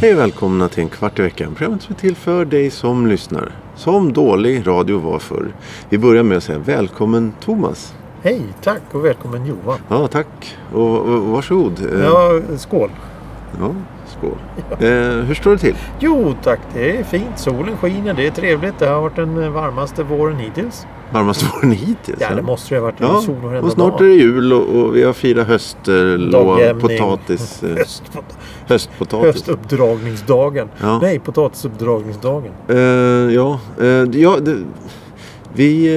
Hej och välkomna till en kvart i veckan. Programmet som är till för dig som lyssnar. Som dålig radio var förr. Vi börjar med att säga välkommen Thomas. Hej, tack och välkommen Johan. Ja, tack. Och, och varsågod. Eh, Ja, skål. ja, skål. Eh, hur står det till? Jo tack, det är fint. Solen skiner, det är trevligt. Det har varit den eh, varmaste våren hittills. Varmaste våren hittills? Ja, va? det måste det ha varit. Det är Ja, sol varenda och snart är dag. det jul och, och vi har firat höstlov, Dagjämning. potatis, eh, Höstpot- höstpotatis. Höstuppdragningsdagen. Ja. Nej, potatisuppdragningsdagen. Eh, ja, eh, ja det, vi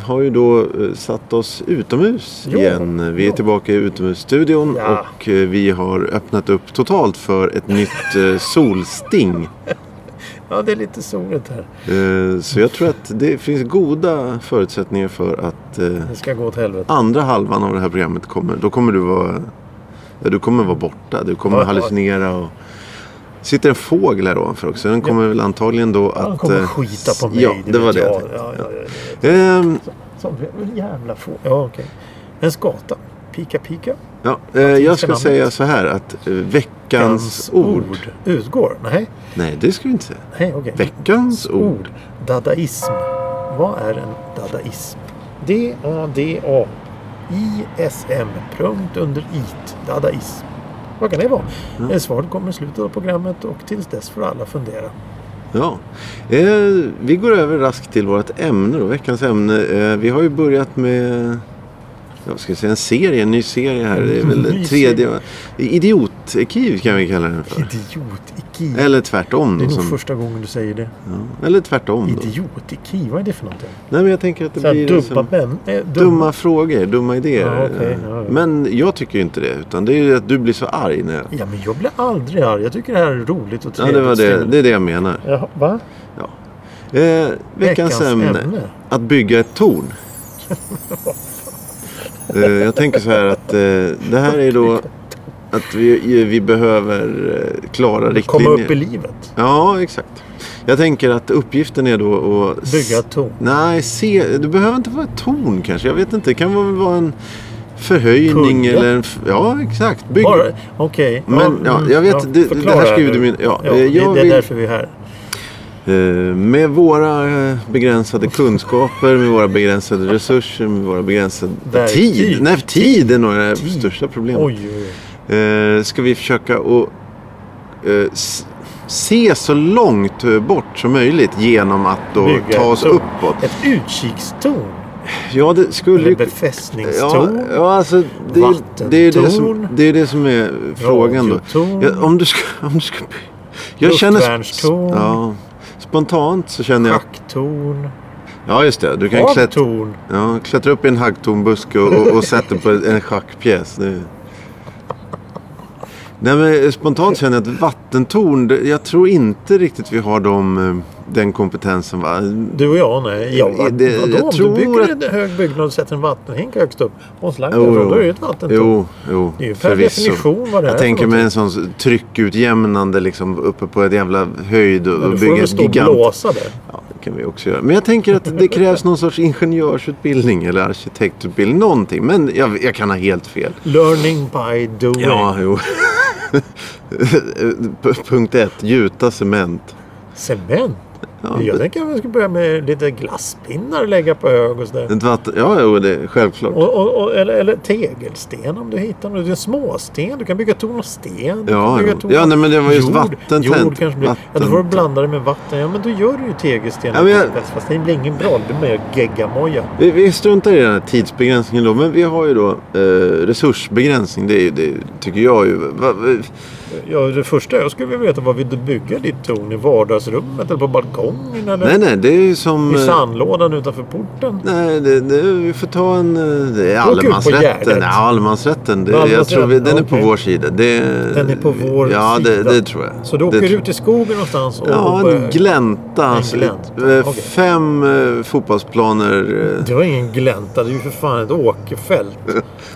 eh, har ju då eh, satt oss utomhus Ja, igen. Vi är ja. tillbaka i utomhusstudion Ja. och eh, vi har öppnat upp totalt för ett nytt eh, solsting. Ja, det är lite soligt här. Eh, så jag tror att det finns goda förutsättningar för att eh, Det ska gå åt helvete. andra halvan av det här programmet kommer. Då kommer du vara, ja, du kommer vara borta. Du kommer Ja, ja. hallucinera och... sitter en fågel här ovanför också. Den kommer väl antagligen då att... Han kommer eh, skita på mig. Ja, det var vet det jag jag. tänkte. ja, ja, ja, ja. Ehm, Som en jävla få. Ja, okej. En skata. Pika, pika. Ja, eh, jag finns ska det namnet? säga så här att eh, veckans Veckans ord. Utgår? Nej, Nej, det ska vi inte säga. nej okej. Veckans ord. ord. Dadaism. Vad är en dadaism? D-A-D-A. I-S-M. Prunkt under it. Dadaism. Vad kan det vara? Mm. Svaret kommer i slutet av programmet och tills dess får alla fundera. Ja. Eh, vi går över raskt till vårt ämne då, veckans ämne. Eh, vi har ju börjat med jag ska jag säga en serie, en ny serie här. Det är väl Ny tredje. Idiotarkiv kan vi kalla den för. Idiotik. Eller liksom- tvärtom. Det är Då, nog som, första gången du säger det. ja. Eller tvärtom. Då. Idiotiki, vad är det för någonting? Nej, men jag tänker att Mm. det Så här, blir... dumma, som- män, eh, dumma Dumma frågor, dumma idéer. Ja, okej. Ja, ja. Men jag tycker ju inte det. Utan det är ju att du blir så arg när jag... Ja, men jag blir aldrig arg. Jag tycker det här är roligt och Ja, trevligt. det, var det, stimulerande. det är det jag menar. Jaha, va? Ja. Eh, veckans ämne. Att bygga ett torn. eh, jag tänker så här att eh, det här är då att vi, vi behöver eh, klara Komma riktlinjer. upp i livet. Ja, exakt. Jag tänker att uppgiften är då att... s- Bygga ett torn. Nej, se, det behöver inte vara ett torn kanske. Jag vet inte. Det kan väl vara en förhöjning Kudde. eller en... f- Ja, exakt. Bygg... Bara- Okej. Men, ja, mm, jag vet, det- det förklara här ska ju nu. du min- ja, eh, det, jag det är vill- därför vi är här. Eh, Med våra eh, begränsade kunskaper, med våra begränsade resurser, med våra begränsade... Verktyg. Tid! Nej, tid är nog det Tid. största problemet. Oj, oj, oj. Eh, Ska vi försöka att eh, s- se så långt eh, bort som möjligt genom att då Bygga ta ett oss torn. uppåt. Ett utkikstorn. Ja, det skulle Eller ju... Ja, befästningstorn. ja, alltså det är, det, är det, som, Vattentorn. det är det som är frågan då. Radiotorn. Ja, om du ska... Om du ska jag känner... sp- Luftvärnstorn. Ja, spontant så känner jag... Schacktorn. Ja, just det. Du kan klättra... Havtorn. Ja, klättra upp i en haggtornbuske och, och, och sätta på en schackpjäs. Det... Nej, men spontant känner jag att vattentorn, det- jag tror inte riktigt vi har de, eh, den kompetensen. Va? Du och jag, nej. Ja, vad, Det- vadå? jag Om tror du bygger att- en hög byggnad och sätter en vattenhink högst upp och en slang Jo, därifrån, jo. då är det ju ett vattentorn. Jo, jo, Det är ju per definition vad det Jag är för tänker mig någonting. en sån tryckutjämnande liksom, uppe på ett jävla höjd och, Men och då får de bygga väl ett stå och gigant. blåsa där. Ja, det kan vi också göra. Men jag tänker att det krävs någon sorts ingenjörsutbildning eller arkitektutbildning. Någonting. Men jag, jag kan ha helt fel. Learning by doing. Ja, jo. P- Punkt ett, gjuta cement. Cement. Ja, jag tänker att vi ska börja med lite glasspinnar och lägga på hög och sådär. Ett vatten, ja, jo, det är självklart. Och, och, och, eller, eller tegelsten om du hittar något. Det är småsten. Du kan bygga torn av sten. Du Ja, kan bygga jo. torn Ja, av nej, men det var just jord. vattentänt. Jord kanske blir. Ja, då får du Vattentänt. blanda det med vatten. Ja, men då gör du ju tegelsten. Ja, men jag- Fast- Fast det blir ingen bra. Det blir mer geggamoja. Vi, vi struntar i den här tidsbegränsningen då. Men vi har ju då eh, resursbegränsning. Det, är, ju- det tycker jag ju. Va, va, Ja, det första jag skulle vilja veta var vill du bygga ditt torn? I vardagsrummet eller på balkongen? balkongen eller Nej, nej, det är ju som... i eh, sandlådan utanför porten. Nej, det, det, vi får ta en... eh, Det är Åk ut på allemansrätten. Gärdet. Ja, allemansrätten. Det, jag Allemansrätten, tror vi, den är på okej. vår sida. Det, Den är på vår ja, Ja, sida. det, det tror jag. Så du det åker tror- ut i skogen någonstans och... Ja, en glänta. en alltså, glänta, eh, okej. Fem eh, fotbollsplaner eh, Det var ingen glänta, det är ju för fan ett åkerfält.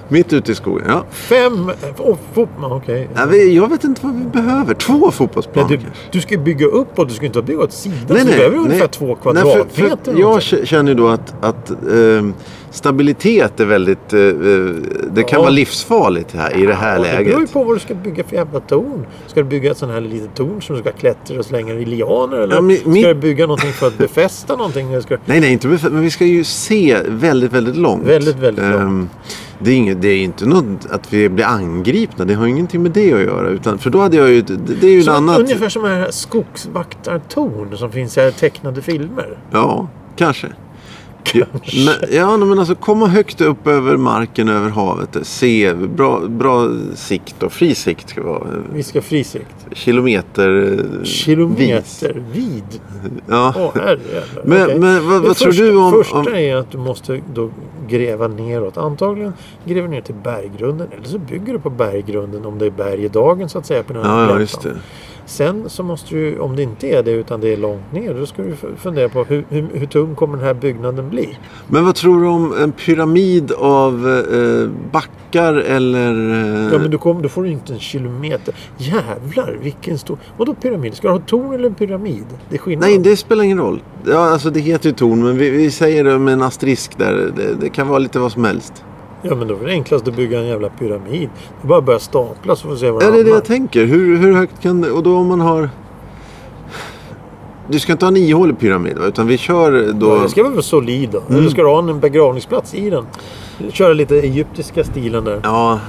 mitt ute i skogen. Ja. Fem... Oh, fot... ja, Okej. Nej, vi- jag vet inte vad vi behöver. Två Nej, fotbollsplaner du, kanske. du ska ju bygga upp och du ska inte bygga åt sidan. så du behöver ungefär två Nej, kvadratmeter. för, för eller jag någonting. k- känner ju då att, att ehm, stabilitet är väldigt... eh, eh, det kan Ja. vara livsfarligt här, i det här Ja, Det läget. beror ju på vad du ska bygga för jävla torn. Ska du bygga ett sånt här litet torn som du ska klättra och slänga i lianer? Eller Ja, men min- ska du bygga någonting för att befästa någonting? Eller Ska... du- Nej, nej, inte befäl, men vi ska ju se väldigt, väldigt långt. Väldigt, väldigt långt. Ehm, det, är inget, det är inte något att vi blir angripna. Det har ju ingenting med det att göra. Utan, för då hade jag ju... Det, det är ju Som, en annan... Ungefär som det här skogsvaktartorn som finns i här tecknade filmer. Ja, kanske. Kanske. Men, ja, nej, men alltså komma högt upp över marken, över havet. Se, bra, bra sikt och fri sikt ska vara. Vi ska frisikt. Kilometer... eh, vis. Kilometer vid. Ja. Åh, herrejävlar. Men- Okej. men vad- vad tror du om- första om- är att du måste då gräva neråt. Antagligen gräver du ner till berggrunden. Eller så bygger du på berggrunden om det är berg i dagen så att säga. På den här Ja, ja, gläntan. just det. Sen så måste du, om det inte är det utan det är långt ner, då ska du f- fundera på hur, hur, hur tung kommer den här byggnaden bli? Men vad tror du om en pyramid av eh, backar eller... eh, Ja, men du kommer, då får du inte en kilometer. Jävlar, vilken stor... Vadå pyramid? Ska du ha ett torn eller en pyramid? Det är skillnad. Nej, det spelar ingen roll. Ja, alltså det heter ju torn, men vi, vi säger det med en asterisk där. Det, det kan vara lite vad som helst. Ja, men då är det enklast att bygga en jävla pyramid. Det är bara att börja stapla så får vi se var Ja, det är det hamnar. jag tänker. Hur, hur högt kan det... Och då om man har... Du ska inte ha en ihålig pyramid, va? utan vi kör då... Mm. Ja, Det ska vara solid då. Eller ska du ha en begravningsplats i den? Köra lite egyptiska stilen där. Ja,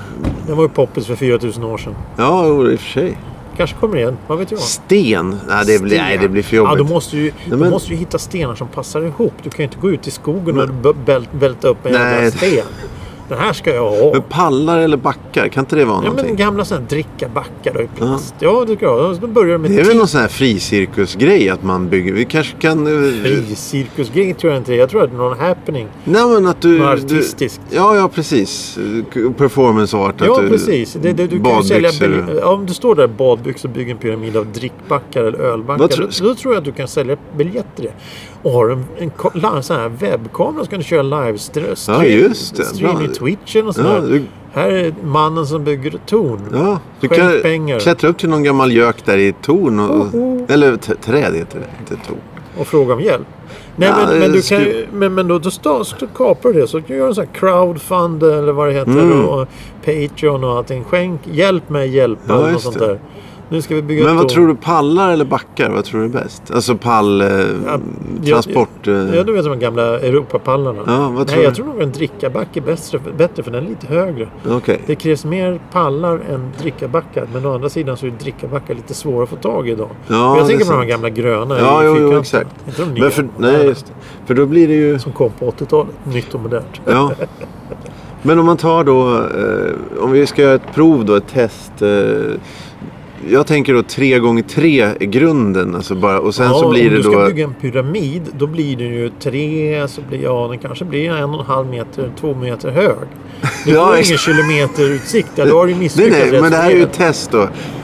Den var ju poppis för 4000 år sedan. ja jo, i och för sig. Kanske kommer igen, vad vet jag? Sten? Nej, det blir, Sten. nej, det blir för Ja, jobbigt. du måste ju, du men- måste ju hitta stenar som passar ihop. Du kan ju inte gå ut i skogen och b- bält, bälta upp en jävla Nej. sten. Den här ska jag ha. Men pallar eller backar, kan inte det vara Ja, men någonting? gamla sådana här drickabackar då i plast. Ja, det ska jag ha. Då börjar du med typ Det är väl ti- någon sån här fricirkusgrej att man bygger. Vi kanske kan... eh, Fricirkusgrej tror jag inte. Jag tror att det är någon happening. Nej men att du... Något artistiskt. Du, ja, ja precis. Performance art. ja, att du, precis. Det, det, du kan ju sälja, badbyxor. bel- ja, om du står där i badbyxor och bygger en pyramid av drickbackar eller ölbackar. Vad tror- då, då tror jag att du kan sälja biljetter i det. Och har du en, en, ko- la- sån här webbkamera så kan du köra livestream. Ja, just det. Stream i Bra. Twitchen och Ja, sådär. du- Här är mannen som bygger ett torn. Ja, du Skänk kan pengar. klättra upp till någon gammal gök där i ett torn. Och, Oho. Eller t- träd heter det, inte torn. och fråga om hjälp. Nej, Ja, men, men, det du kan, skulle- ju- men, men då, då, sta- så kapar du det. Så kan du göra en sån här crowdfund eller vad det heter. Mm. Och Patreon och allting. Skänk, hjälp mig hjälpa Ja, eller något just sånt det. där. Nu ska vi bygga Men ett vad torn. tror du, pallar eller backar? Vad tror du är bäst? Alltså pall... Eh, ja, transport... Eh, Ja, du vet de gamla Europapallarna. Ja, vad tror Nej, jag du? tror nog en drickaback är bättre, bättre för den är lite högre. Okej. Det krävs mer pallar än drickabackar. Men å andra sidan så är drickabackar lite svåra att få tag i idag. Men det är jag tänker på de här sant. gamla gröna Ja, i jo, jo, fyrkanterna. exakt. Inte de nya. Men för, nej, just det. För då blir det ju... Som kom på 80-talet. Nytt och modernt. Ja. Men om man tar då, eh, om vi ska göra ett prov då, ett test. Eh, jag tänker då tre gånger tre är grunden. Alltså bara, och sen så blir om det du ska då... bygga en pyramid då blir den ju tre, så blir, ja den kanske blir en och en halv meter, två meter hög. Du Ja, får ingen exakt. kilometerutsikt där, då har du Nej, misslyckats. nej, rätt men det här är ju ett rejält. test då.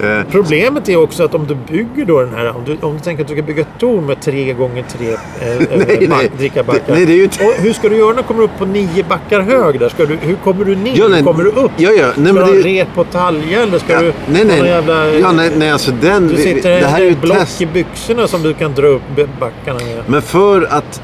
Eh, Problemet är också att om du bygger då den här, om du, om du tänker att du ska bygga ett torn med tre gånger tre eh, Nej, nej, nej. drickabackar. Det- nej, det är ju inte- och hur ska du göra när du kommer upp på nio backar hög där? Ska du, hur kommer du ner? Ja, nej. hur kommer du upp? Ja, ja. Nej, ska men du det ha är ju- rep och talja eller ska ja, du nej, ha nej. någon jävla... ja, nej, nej, alltså den... Du vi- vi- sitter det här är ju ett ett block test. i byxorna som du kan dra upp backarna med. Men för att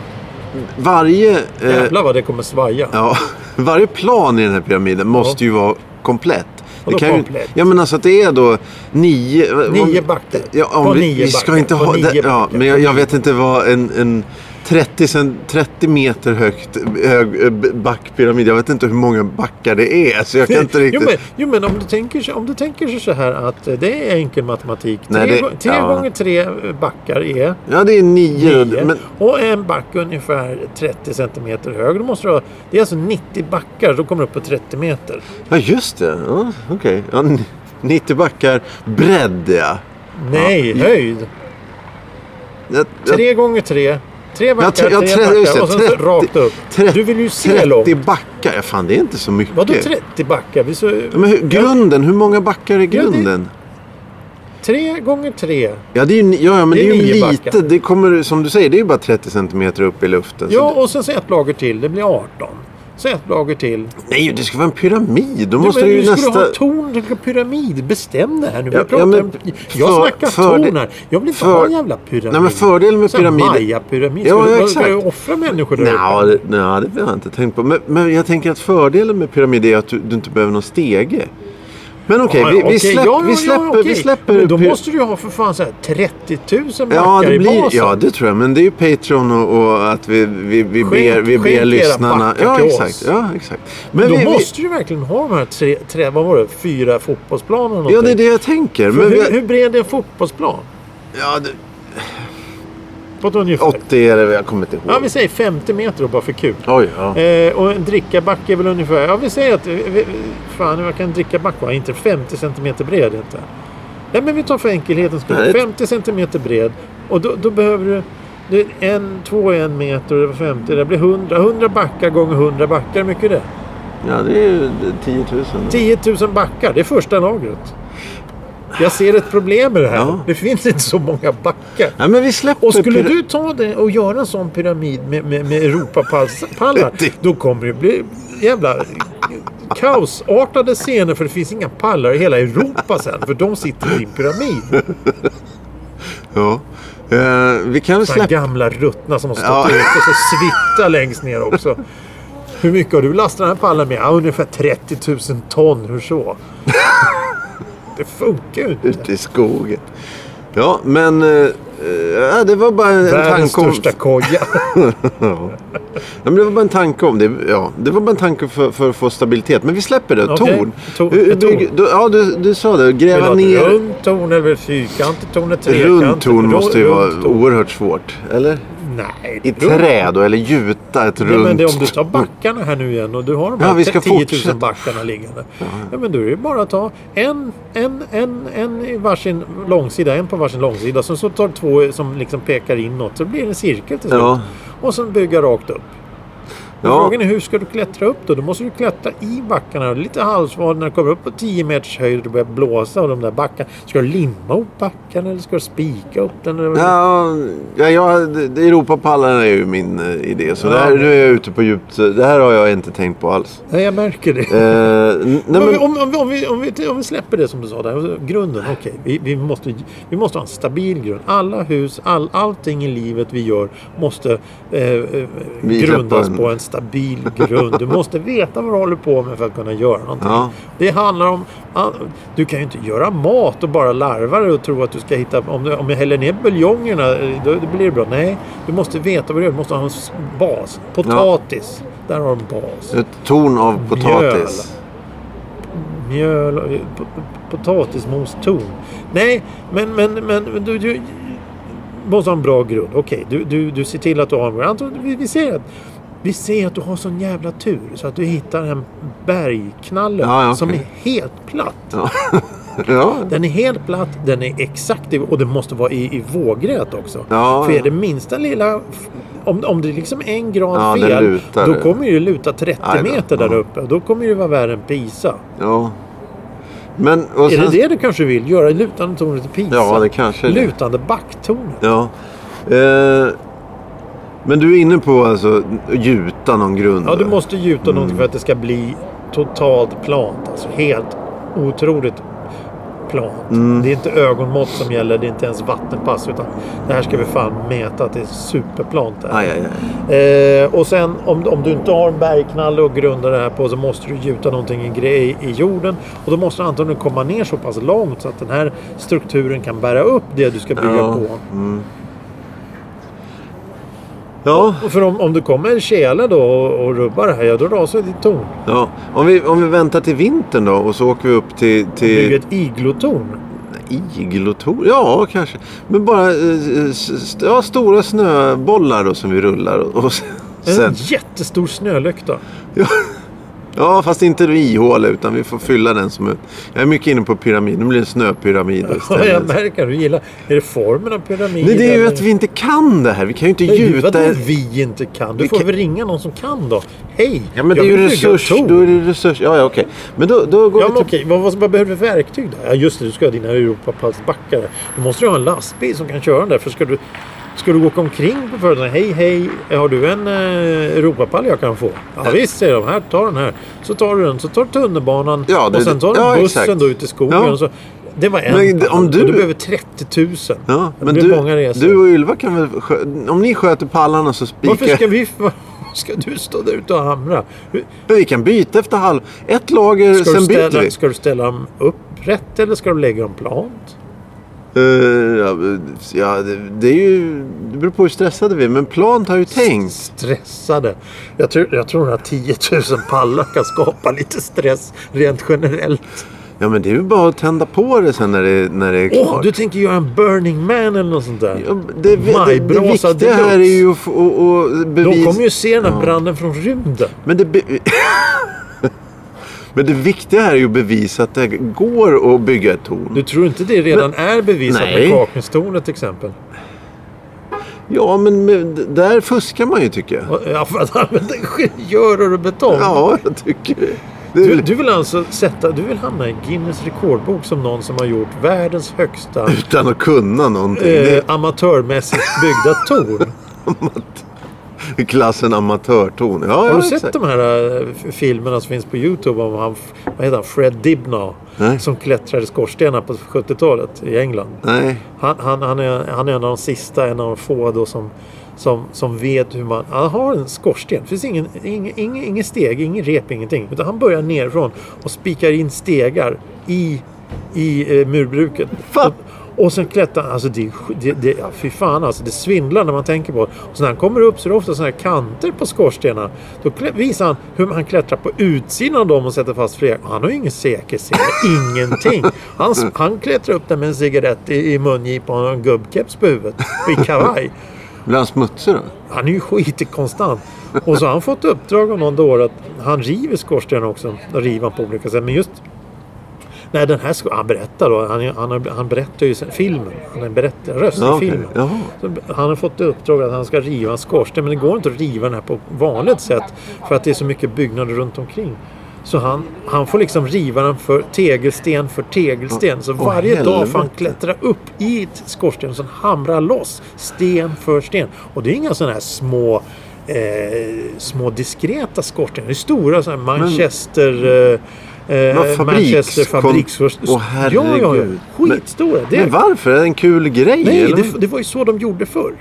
varje... Eh, Jävlar vad det kommer svaja. Ja, varje plan i den här pyramiden måste ju vara komplett. Vadå ju- komplett? Ja men alltså att det är då nio... Nio om- backar. Ja, På om vi, nio vi ska backar. inte På ha... nio det- ja, backar. men jag, jag vet inte vad en... en 30, cent, 30 meter högt hög, eh, b- backpyramid. Jag vet inte hur många backar det är. Så jag kan inte Jo riktigt... men, jo men om du tänker sig, om du tänker sig så här att eh, det är enkel matematik. Nej, tre det- gång- tre ja. gånger tre eh, backar är Ja, det är nio. nio. Men, Och en back ungefär 30 centimeter hög. Då måste du ha, det är alltså 90 backar, då kommer du upp på 30 meter. ja, just det. Ja, Okej. Ja, n- 90 backar. Bredd, ja. Nej, höjd. jag, jag, Tre gånger tre. Tre backar, tre- ja, tre tre- just backar det, och sen så 30 rakt upp. 30 Du vill ju se 30 långt. backar, ja, fan det är inte så mycket. Vadå 30 backar? Vi så, Ja, men hur, grunden, hur många backar är det- grunden? Tre gånger tre. Ja, det är ju, ni- ja, ja men det Det är är ju nio lite. backar. Det kommer, som du säger, det är ju bara 30 centimeter upp i luften. så Ja, och sen så ett lager till. Det blir 18. Så ett lager till. det, nej, det ska vara en pyramid. Då måste men det du ju skulle nästa... ha torn, du skulle ha pyramid. Bestäm det här nu. Ja, Jag, pratar ja, men om, jag för- snackar för det- torn här. Jag vill inte för- ha en jävla pyramid. Nej, men fördelen med Så här pyramiden- Maya-pyramid. Ja, Ska ja, du- exakt. Ska du offra människor där Nja, det, nja, det har jag inte tänkt på. Men, men jag tänker att fördelen med pyramid är att du, du inte behöver någon stege. Men okej, vi, vi, släpp, vi släpper... vi släpper Men då py- måste du ju ha för fan så här 30 000 backar Ja det, i blir, basen. ja, det tror jag. Men det är ju Patreon och, och att vi, vi, vi ber, vi skänk ber era lyssnarna... backar Ja, till exakt. oss. Ja, exakt. Men vi, då vi- måste du verkligen ha de här tre, tre vad var det, fyra fotbollsplaner eller Ja, det är det någonting. jag tänker. För Men hur, vi, hur bred är en fotbollsplan? ja, det, På ett ungefär? 80 är det, jag kommer inte ihåg. Ja, vi säger 50 meter då, bara för kul. Oj, ja. Eh, och en drickaback är väl ungefär, ja vi säger att, eh, vi- fan vad kan en drickaback vara? Inte 50 centimeter bred inte. Nej men vi tar för enkelhetens Nej. skull, 50 centimeter bred. Och då, då behöver du, det är en, två är en meter och det var 50, det blir 100. 100 backar gånger 100 backar, hur mycket är det? ja, det är ju det- 10 000. 10 000 backar, det är första lagret. Jag ser ett problem med det här. Ja. Det finns inte så många backar. Nej, men vi släpper... Och skulle pyra- du ta det och göra en sån pyramid med, med, med Europapallar, Det- då kommer det bli jävla kaosartade scener för det finns inga pallar i hela Europa sen, för de sitter i din pyramid. Ja. Eh, vi kan väl De här släppa... gamla ruttna som har stått Ja. ut och så svitta längst ner också. Hur mycket har du lastat den här pallen med? Ja, ungefär 30 000 ton, hur så? Det funkar ju inte. Ute i skogen. Ja, men... eh, eh, det var bara en, en Världens tanke om... största koja. Ja. Ja, men det var bara en tanke om det. Ja, det var bara en tanke för, för att få stabilitet. Men vi släpper det. Okej. Torn. Tor- Hur- hur ett torn. bygger- du- ja, du, du sa det. Vill Gräva ha ett ner. runt torn eller fyrkantigt torn eller trekantigt? Runt torn måste ju Runt vara torn. oerhört svårt. Eller? Nej. I runt- trä då? Eller gjuta ett Nej, men runt... det, om du tar backarna här nu igen och du har de Ja, här vi ska 10 000 fortsätta. backarna liggande. Ja, men då är det ju bara att ta en, en, en, en i varsin långsida, en på varsin långsida. Sen så tar du två som liksom pekar inåt. Så blir det en cirkel till slut. Ja. Och sen bygga rakt upp. Men Ja. Frågan är hur ska du klättra upp då? Då måste du klättra i backarna. Lite halvsvag när du kommer upp på 10 meters höjd och det börjar blåsa av de där backarna. Ska du limma upp backarna eller ska du spika upp den? Eller- Ja, ja, jag, det- Europapallarna är ju min eh, idé. Så Ja. det här, nu är jag ute på djupt. Det här har jag inte tänkt på alls. Nej, jag märker det. Eh, n- nej, men, Om, om, om, vi, om, vi, om vi släpper det som du sa där. alltså, Grunden, okej. Vi, vi, måste, vi måste ha en stabil grund. Alla hus, all, allting i livet vi gör måste eh, eh, Vila på grundas en- på en stabil grund. Du måste veta vad du håller på med för att kunna göra någonting. Ja. Det handlar om... all- Du kan ju inte göra mat och bara larva dig och tro att du ska hitta... Om, du, om jag häller ner buljongerna, eh, då, då blir det bra. Nej, du måste veta vad du gör. Du måste ha en s- bas. Potatis. Där har du en bas. ett torn av potatis. Mjöl och eh, po- potatismostorn. Nej, men, men, men men du, du måste ha en bra grund. Okej, du, du, du ser till att du har en bra Anton, vi, vi, ser att, vi ser att du har sån jävla tur så att du hittar en bergknalle Ja, ja, som okej. är helt platt. Ja. Den är helt platt, den är exakt i, och den måste vara i, i vågrät också. Ja, För ja. är det minsta lilla... f- Om, om det är liksom en Ja, grad den fel, lutar. då kommer ju luta 30 Aj då, meter där ja. uppe. Då kommer det vara värre än Pisa. ja. Men, och Är sen, det det du kanske vill? Göra lutande tornet till Pisa? Ja, det kanske är det. Lutande backtornet? Ja. Eh, men du är inne på alltså gjuta någon grund. Ja, du där. måste gjuta någonting för att det ska bli totalt plant. Alltså helt otroligt plant. Mm. Det är inte ögonmått som gäller, det är inte ens vattenpass. Utan det här ska vi fan mäta att det är superplant. Där. Aj, aj, aj. Eh, och sen om, om du inte har en bergknalle och grundar det här på så måste du gjuta någonting i, grej, i jorden. Och då måste du antagligen komma ner så pass långt så att den här strukturen kan bära upp det du ska bygga Ja. på. Ja. Och För om, om du kommer en tjäle då och, och rubbar det här, ja då rasar ditt torn. ja. Om, vi, om vi väntar till vintern då och så åker vi upp till... Bygg till ett iglotorn. iglotor? Ja, kanske. Men bara eh, s- s- ja, stora snöbollar då som vi rullar och, och sen... En sen jättestor snölykta. ja. Ja, fast inte ihåla utan vi får fylla den som... Jag är mycket inne på pyramid. Nu blir det snöpyramider Ja, jag istället. märker du gillar... Är det formen av pyramiden? Nej, det är ju eller- att vi inte kan det här. Vi kan ju inte Nej, du, gjuta... vadå vi inte kan? Du Vi får kan- väl ringa någon som kan då? Hej! Ja, men det jag är ju vill bygga ett resurs. torn. Då är det resurs. Ja, ja, okej. Men då, då går Ja, vi men till... okej, vad, vad, vad behöver du för verktyg då? Ja, just det, du ska ha dina Europapassbackar. Då måste du ha en lastbil som kan köra den där. För ska du, ska du åka omkring på företagen? Hej, hej, har du en eh, Europapall jag kan få? Ja, visst, säger de. Här, ta den här. Så tar du den, så tar du tunnelbanan Ja, det- och sen tar du ja, bussen exakt. då ut i skogen. Ja. Och så, det var en. Men pall. om du- Och du behöver 30 000. Ja, det men blir du, många resor. du och Ylva kan väl... skö- Om ni sköter pallarna så Varför spikar... ska vi... Varför ska du stå där ute och hamra? Hur- Men Vi kan byta efter halv... Ett lager, Ska, sen du byter ställa, vi. ska du ställa dem upprätt eller ska du lägga dem plant? Eh, ja, ja, det, det är ju... Det beror på hur stressade vi är. Men plant har ju tänkt. stressade. Jag tror, jag tror att 10 000 pallar kan skapa lite stress rent generellt. Ja, men det är ju bara att tända på det sen när det, när det är klart. Åh, du tänker göra en Burning Man eller något sånt där. Ja, Det, det, det Majbrasa viktiga deluxe. här är ju att få- att att De bevisa... kommer ju se den här branden från rymden. Men det... Be... Men det viktiga här är ju att bevisa att det går att bygga ett torn. Du tror inte det redan är bevisat Nej. med Kaknästornet till exempel? Ja, men men d- där fuskar man ju tycker jag. Ja, för att använda ingenjörer och betong. Ja, jag tycker det. det. är Du, väl- du vill alltså sätta, du vill hamna i Guinness rekordbok som någon som har gjort världens högsta Utan att kunna någonting. Det eh, amatörmässigt byggda torn. är klassen amatörtorn. Ja, Har ja, du sett exakt. de här eh, f- filmerna som finns på Youtube om han, vad heter han, Fred Dibna Nej. som klättrade skorstenar på 70-talet i England? Nej. Han, han, han, är, han är en av de sista, en av de få då som, som, som vet hur man... Han har en skorsten. Det finns ingen, ingen, ingen, ingen steg, ingen rep, ingenting. Utan han börjar nerifrån och spikar in stegar i, i eh, murbruket. Fan. Och, och sen klättrar han. Alltså det, är sj- det, det ja, Fy fan alltså. Det svindlar när man tänker på det. Och sen när han kommer upp så är det ofta sådana här kanter på skorstenarna. Då klä- visar han hur han klättrar på utsidan av dem och sätter fast flera. Han har ju ingen säker sida. Ingenting. Han, s- han klättrar upp där med en cigarett i, i mungipan och en gubbkeps på huvudet. Och i kavaj. Blir han smutsig då? Han är ju skitig konstant. Och så har han fått uppdrag av någon då att han river skorstenen också. Och river han på olika sätt. Men just... Nej, den här sko- Han berättar då. Han, är- han, har- han berättar ju sen- filmen. Han är en berättar, röst Ja, i okej. filmen. Jaha. Så han har fått i uppdrag att han ska riva en skorsten. Men det går inte att riva den här på vanligt sätt. För att det är så mycket byggnader runt omkring. Så han, han får liksom riva den för tegelsten för tegelsten. Så Åh, varje dag får han helvete. klättra upp i ett skorsten och sen hamra loss sten för sten. Och det är inga sådana här små eh, små diskreta skorstenar. Det är stora sådana här Manchester... eh, eh, Vad, fabriks- Manchester kon- fabriksskorsten. Åh, ja, ja, ja. herregud. Skitstora. Det, Men varför? Är det en kul grej? nej, eller? det, det var ju så de gjorde förr.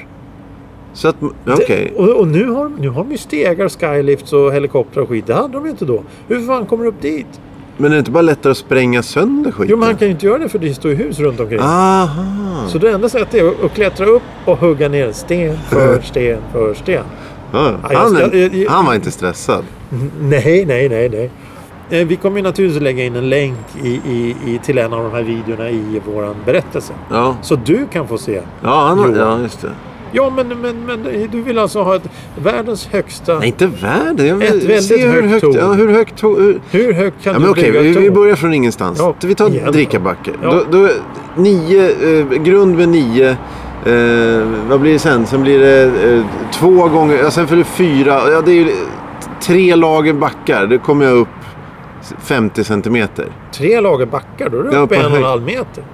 Så att... ja, Det- Okej. Och, och nu, har, nu har de ju stegar, skylifts och helikoptrar och skit. Det hade de ju inte då. Hur fan kommer de upp dit? Men är det inte bara lättare att spränga sönder skiten? Jo, men han kan ju inte göra det för det står ju hus runt omkring. Aha. Så det enda sättet är att klättra upp och hugga ner en sten Mm. för sten för sten. Ja, Ja, jag han, ska- jag- jag- han var inte stressad. Nej, nej, nej, nej. Eh, Vi kommer ju naturligtvis lägga in en länk i, i, i, till en av de här videorna i våran berättelse. Ja, Så du kan få se. ja, han, har- Jo. ja just det. Ja, men, men, men du vill alltså ha ett världens högsta... Nej, inte världen. Jag Ett vill väldigt se hur högt högt... torn. Ja, hur högt to- hur... Hur högt kan Ja, du men okej, bygga vi, ett vi torn? börjar från ingenstans. Ja, vi tar igen. drickabacke. Ja. Då, då, nio, eh, grund med nio. Eh, vad blir det sen? Sen blir det eh, två gånger, ja, sen blir det fyra. Ja, det är ju tre lager backar. Då kommer jag upp 50 centimeter. Tre lager backar, då är du Ja, uppe på en och en höjd. halv meter.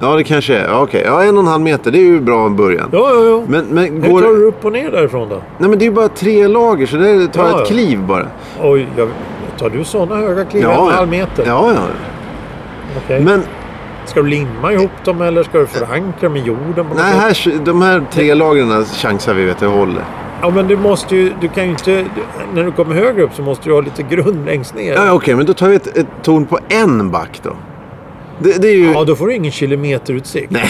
Ja, det kanske är. Ja, okej. Ja, en och en halv meter. Det är ju bra en början. Ja, ja, ja. Men, men Hur går... tar du upp och ner därifrån då? Nej, men det är ju bara tre lager, så det tar Ja, ja. ett kliv bara. Oj, jag... tar du sådana höga kliv? en och en halv meter? Ja, ja. Okej. Men Ska du limma ihop dem eller ska du förankra med jorden? på något nej, sätt? här, de här tre lagren chansar vi vet jag håller. Ja, men du måste ju... Du kan ju inte... du- När du kommer högre upp så måste du ha lite grund längst ner. Ja, ja, okej, men då tar vi ett, ett torn på en back då. Det, det är ju... Ja, då får du ingen kilometerutsikt. Nej.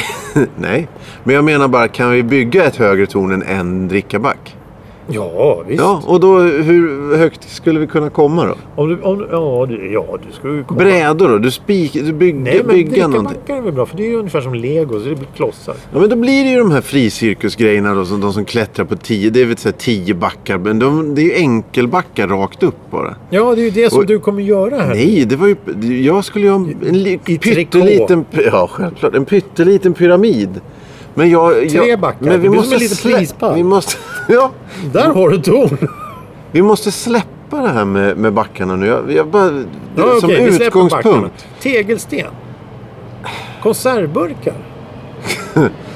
nej, men jag menar bara, kan vi bygga ett högre torn än en drickaback? Ja, visst. Ja, och då hur högt skulle vi kunna komma då? Om du, om du, ja, du, ja, du ska ju komma... Brädor då? Du, spik, du bygger, Nej, men bygger någonting? drickabackar är väl bra, för det är ju ungefär som lego, så det blir klossar. Ja, men då blir det ju de här fricirkusgrejerna då, som de som klättrar på tio. Det är väl så här tio backar, men de, det är ju enkelbackar rakt upp bara. Ja, det är ju det som Och- du kommer göra här. Nej, det var ju... Jag skulle ju ha en, en li- I pytteliten... Ja, självklart. En pytteliten pyramid. Men jag... Tre jag, backar. Det blir som en liten slä- flispall. Vi måste... Ja. Där har du ton! Vi måste släppa det här med, med backarna nu. Jag, jag bara, Ja, som okej, vi släpper backarna. utgångspunkt. Tegelsten. Konservburkar.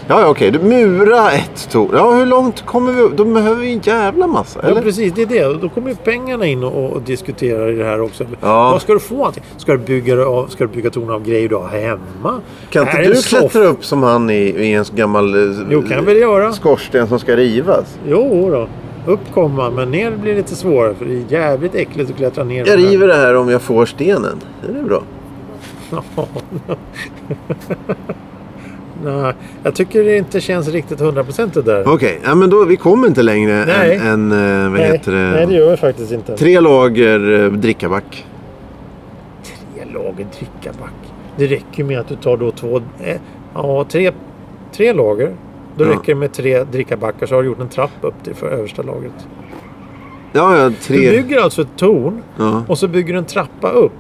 Ja, ja, okej. Du Mura ett torn. Ja, hur långt kommer vi upp? Då behöver vi en jävla massa. Ja, Eller? precis. Det är det. Då kommer ju pengarna in och, och diskuterar i det här också. Ja. Vad ska du få allting? Ska du bygga, det av, ska du bygga torn av grejer du har hemma? Kan inte Här är du en soff- klättra upp som han i, i en gammal eh, Jo, kan jag väl göra. skorsten som ska rivas? Jo då. Upp komma, men ner blir lite svårare för det är jävligt äckligt att klättra ner. Jag river det här om jag får stenen. Det är bra. Nej, jag tycker det inte känns riktigt 100% det där. Okej, ja, men då, vi kommer inte längre Nej. än, än eh, vad nej, heter det? nej, det gör vi faktiskt inte. Tre lager eh, drickaback. Tre lager drickaback. Det räcker ju med att du tar då två, eh, ja tre, tre lager. Då Ja. räcker det med tre drickabackar så har du gjort en trapp upp till för översta lagret. Ja, ja, Du tre. bygger alltså ett torn Ja. och så bygger du en trappa upp.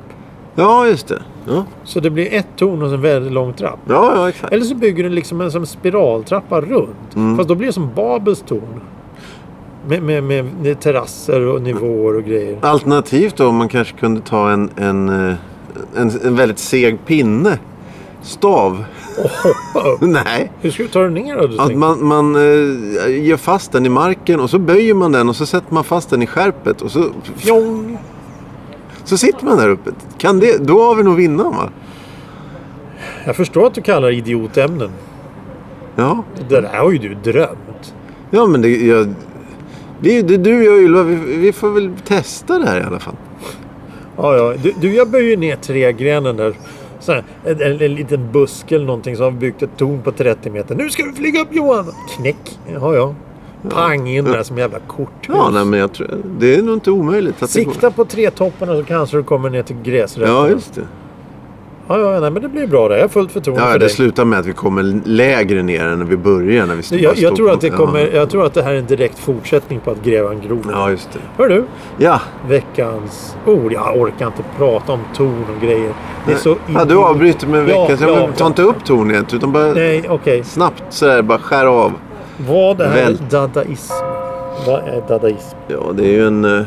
ja, just det. Ja, Så det blir ett torn och en väldigt lång trapp. ja, ja exakt. Eller så bygger du liksom en som spiraltrappa runt. Mm. Fast då blir det som Babels torn. Med, med, med, med terrasser och nivåer och grejer. Alternativt då om man kanske kunde ta en, en, eh, en, en väldigt seg pinne. Stav. Och hoppa upp. Nej. Hur ska du ta dig ner då? Du Att tänker? man, man eh, ger fast den i marken och så böjer man den och så sätter man fast den i skärpet och så, Fjong! så sitter man där uppe. Kan det, då har vi nog vinnaren va? Jag förstår att du kallar det idiotämnen. Ja, Det där har ju du drömt. ja men det, jag, det, är- det är du, jag och Ylva, vi, vi får väl testa det här i alla fall. Ja, ja. Du, du, jag böjer ner trägrenen där. Så här, en, en, en liten buske eller någonting som har vi byggt ett torn på 30 meter. Nu ska du flyga upp Johan! Knäck! Ja, ja. Pang in där som jävla korthus. Ja, nej, men jag tror, det är nog inte omöjligt. Att Det Sikta på trätopparna så kanske du kommer ner till går. gräsrötterna. Ja, just det. Ja, ja, nej, men det blir bra det. Jag har fullt förtroende Ja, för det dig. slutar med att vi kommer lägre ner än när vi började. När vi Nu, stod- Jag, jag, stod tror på- att det ja. kommer, jag tror att det här är en direkt fortsättning på att gräva en grop. Ja, just det. Hör du? Ja, Veckans ord. Jag orkar inte prata om ton och grejer. Det är så ja du avbryter med en Ja, vecka. så jag ja, men ta inte upp tornet utan bara Nej, okej. snabbt sådär, bara skär av. Vad är Väl- dadaism? Vad är dadaism? Ja, det är ju en... eh,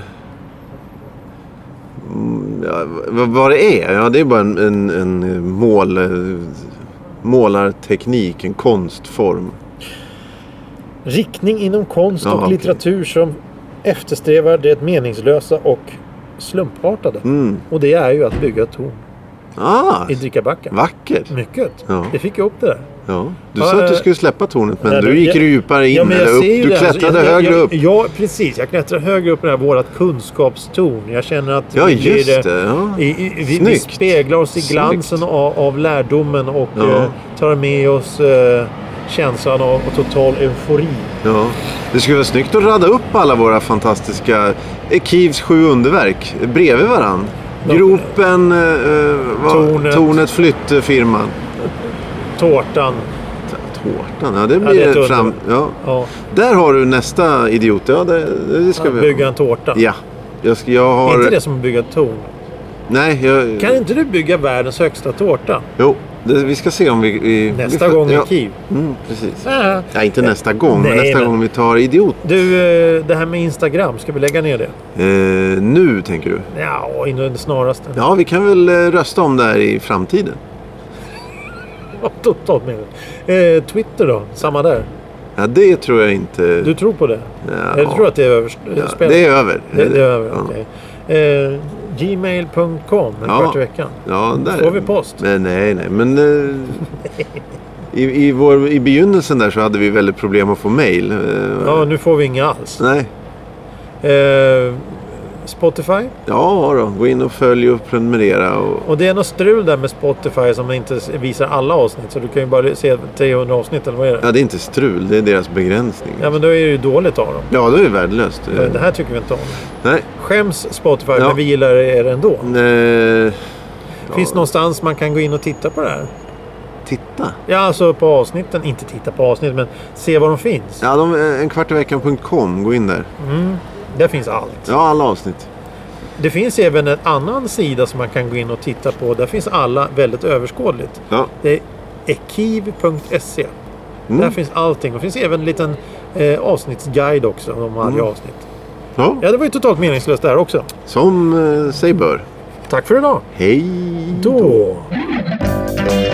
mm, Ja, vad, vad det är? Ja, det är bara en, en, en eh, mål, eh, målarteknik, en konstform. Riktning inom konst Ja, och okej. litteratur som eftersträvar det meningslösa och slumpartade. Mm. Och det är ju att bygga torn Ah, i drickabacken. vackert! Mycket. Ja. Det fick jag upp det där. Ja. Du Ja, sa att du eh, skulle släppa tornet, men nej, du men gick jag- djupare in. eller upp. ser ju Du det här. klättrade jag, högre jag, upp. Ja, precis. Jag klättrar högre upp i det här vårat kunskapstorn. Jag känner att Ja, vi blir, just eh, det. Ja. I, i, vi, vi Snyggt. speglar oss i Snyggt. glansen av, av lärdomen och Ja. eh, tar med oss eh, känslan av av total eufori. Ja. Det skulle vara snyggt att rada upp alla våra fantastiska eh, Kivs sju underverk bredvid varann. Ja. Gropen, eh, eh, vad- Tornet. tornet flyttfirman. Tårtan. Tårtan, ja det Ja, det är blir ett under. fram... Ja. Ja, Där har du nästa idiot. Ja, det, det ska vi bygga en tårta. Ja. Jag, ska, jag Är har... inte det som att bygga ett torn? Nej, jag... Kan inte du bygga världens högsta tårta? Jo, det, vi ska se om vi... vi Nästa vi får- gång i ja. Kiev. Mm, precis. Äh. Ja, inte nästa gång, men Nej, nästa men- gång vi tar idiot. Du, eh, det här med Instagram, ska vi lägga ner det? Eh, nu tänker du? Ja, inom det snaraste. Ja, vi kan väl eh, rösta om det här i framtiden. Totalt med det. Eh, Twitter då? Samma där? Ja, det tror jag inte. Du tror på det? Ja. Jag tror att det är ja, överspelat. det är över. Det, det är över, Ja. okej. Eh, Gmail.com, en Ja. kvart i veckan. Ja, där. Får vi post? Nej, nej, nej. Men eh, i, i, vår, i begynnelsen där så hade vi väldigt problem att få mejl. Eh, Ja, nu får vi inga alls. Nej. Eh, Spotify. Ja då, gå in och följ och prenumerera. Och... Och det är något strul där med Spotify som inte visar alla avsnitt. Så du kan ju bara se 300 avsnitt eller vad är det? Ja, det är inte strul, det är deras begränsning. Ja men då är det ju dåligt av dem. Ja, då är det värdelöst. Eh, Men det här tycker vi inte om. Nej. Skäms Spotify Ja. men vi gillar er ändå. Eh, Finns det någonstans man kan gå in och titta på det här? titta. Ja alltså på avsnitten. Inte titta på avsnitt men se var de finns. Ja, de, eh, enkvartiveckan.com, gå in där. Där finns allt. Ja, alla avsnitt. Det finns även en annan sida som man kan gå in och titta på. Där finns alla väldigt överskådligt. Ja. Det är ekiv.se. Mm. Där finns allting. Det finns även en liten eh, avsnittsguide också om varje Mm. avsnitt. Ja. Ja, det var ju totalt meningslöst där också. Som eh, sig bör. Tack för idag. Hej Då. då.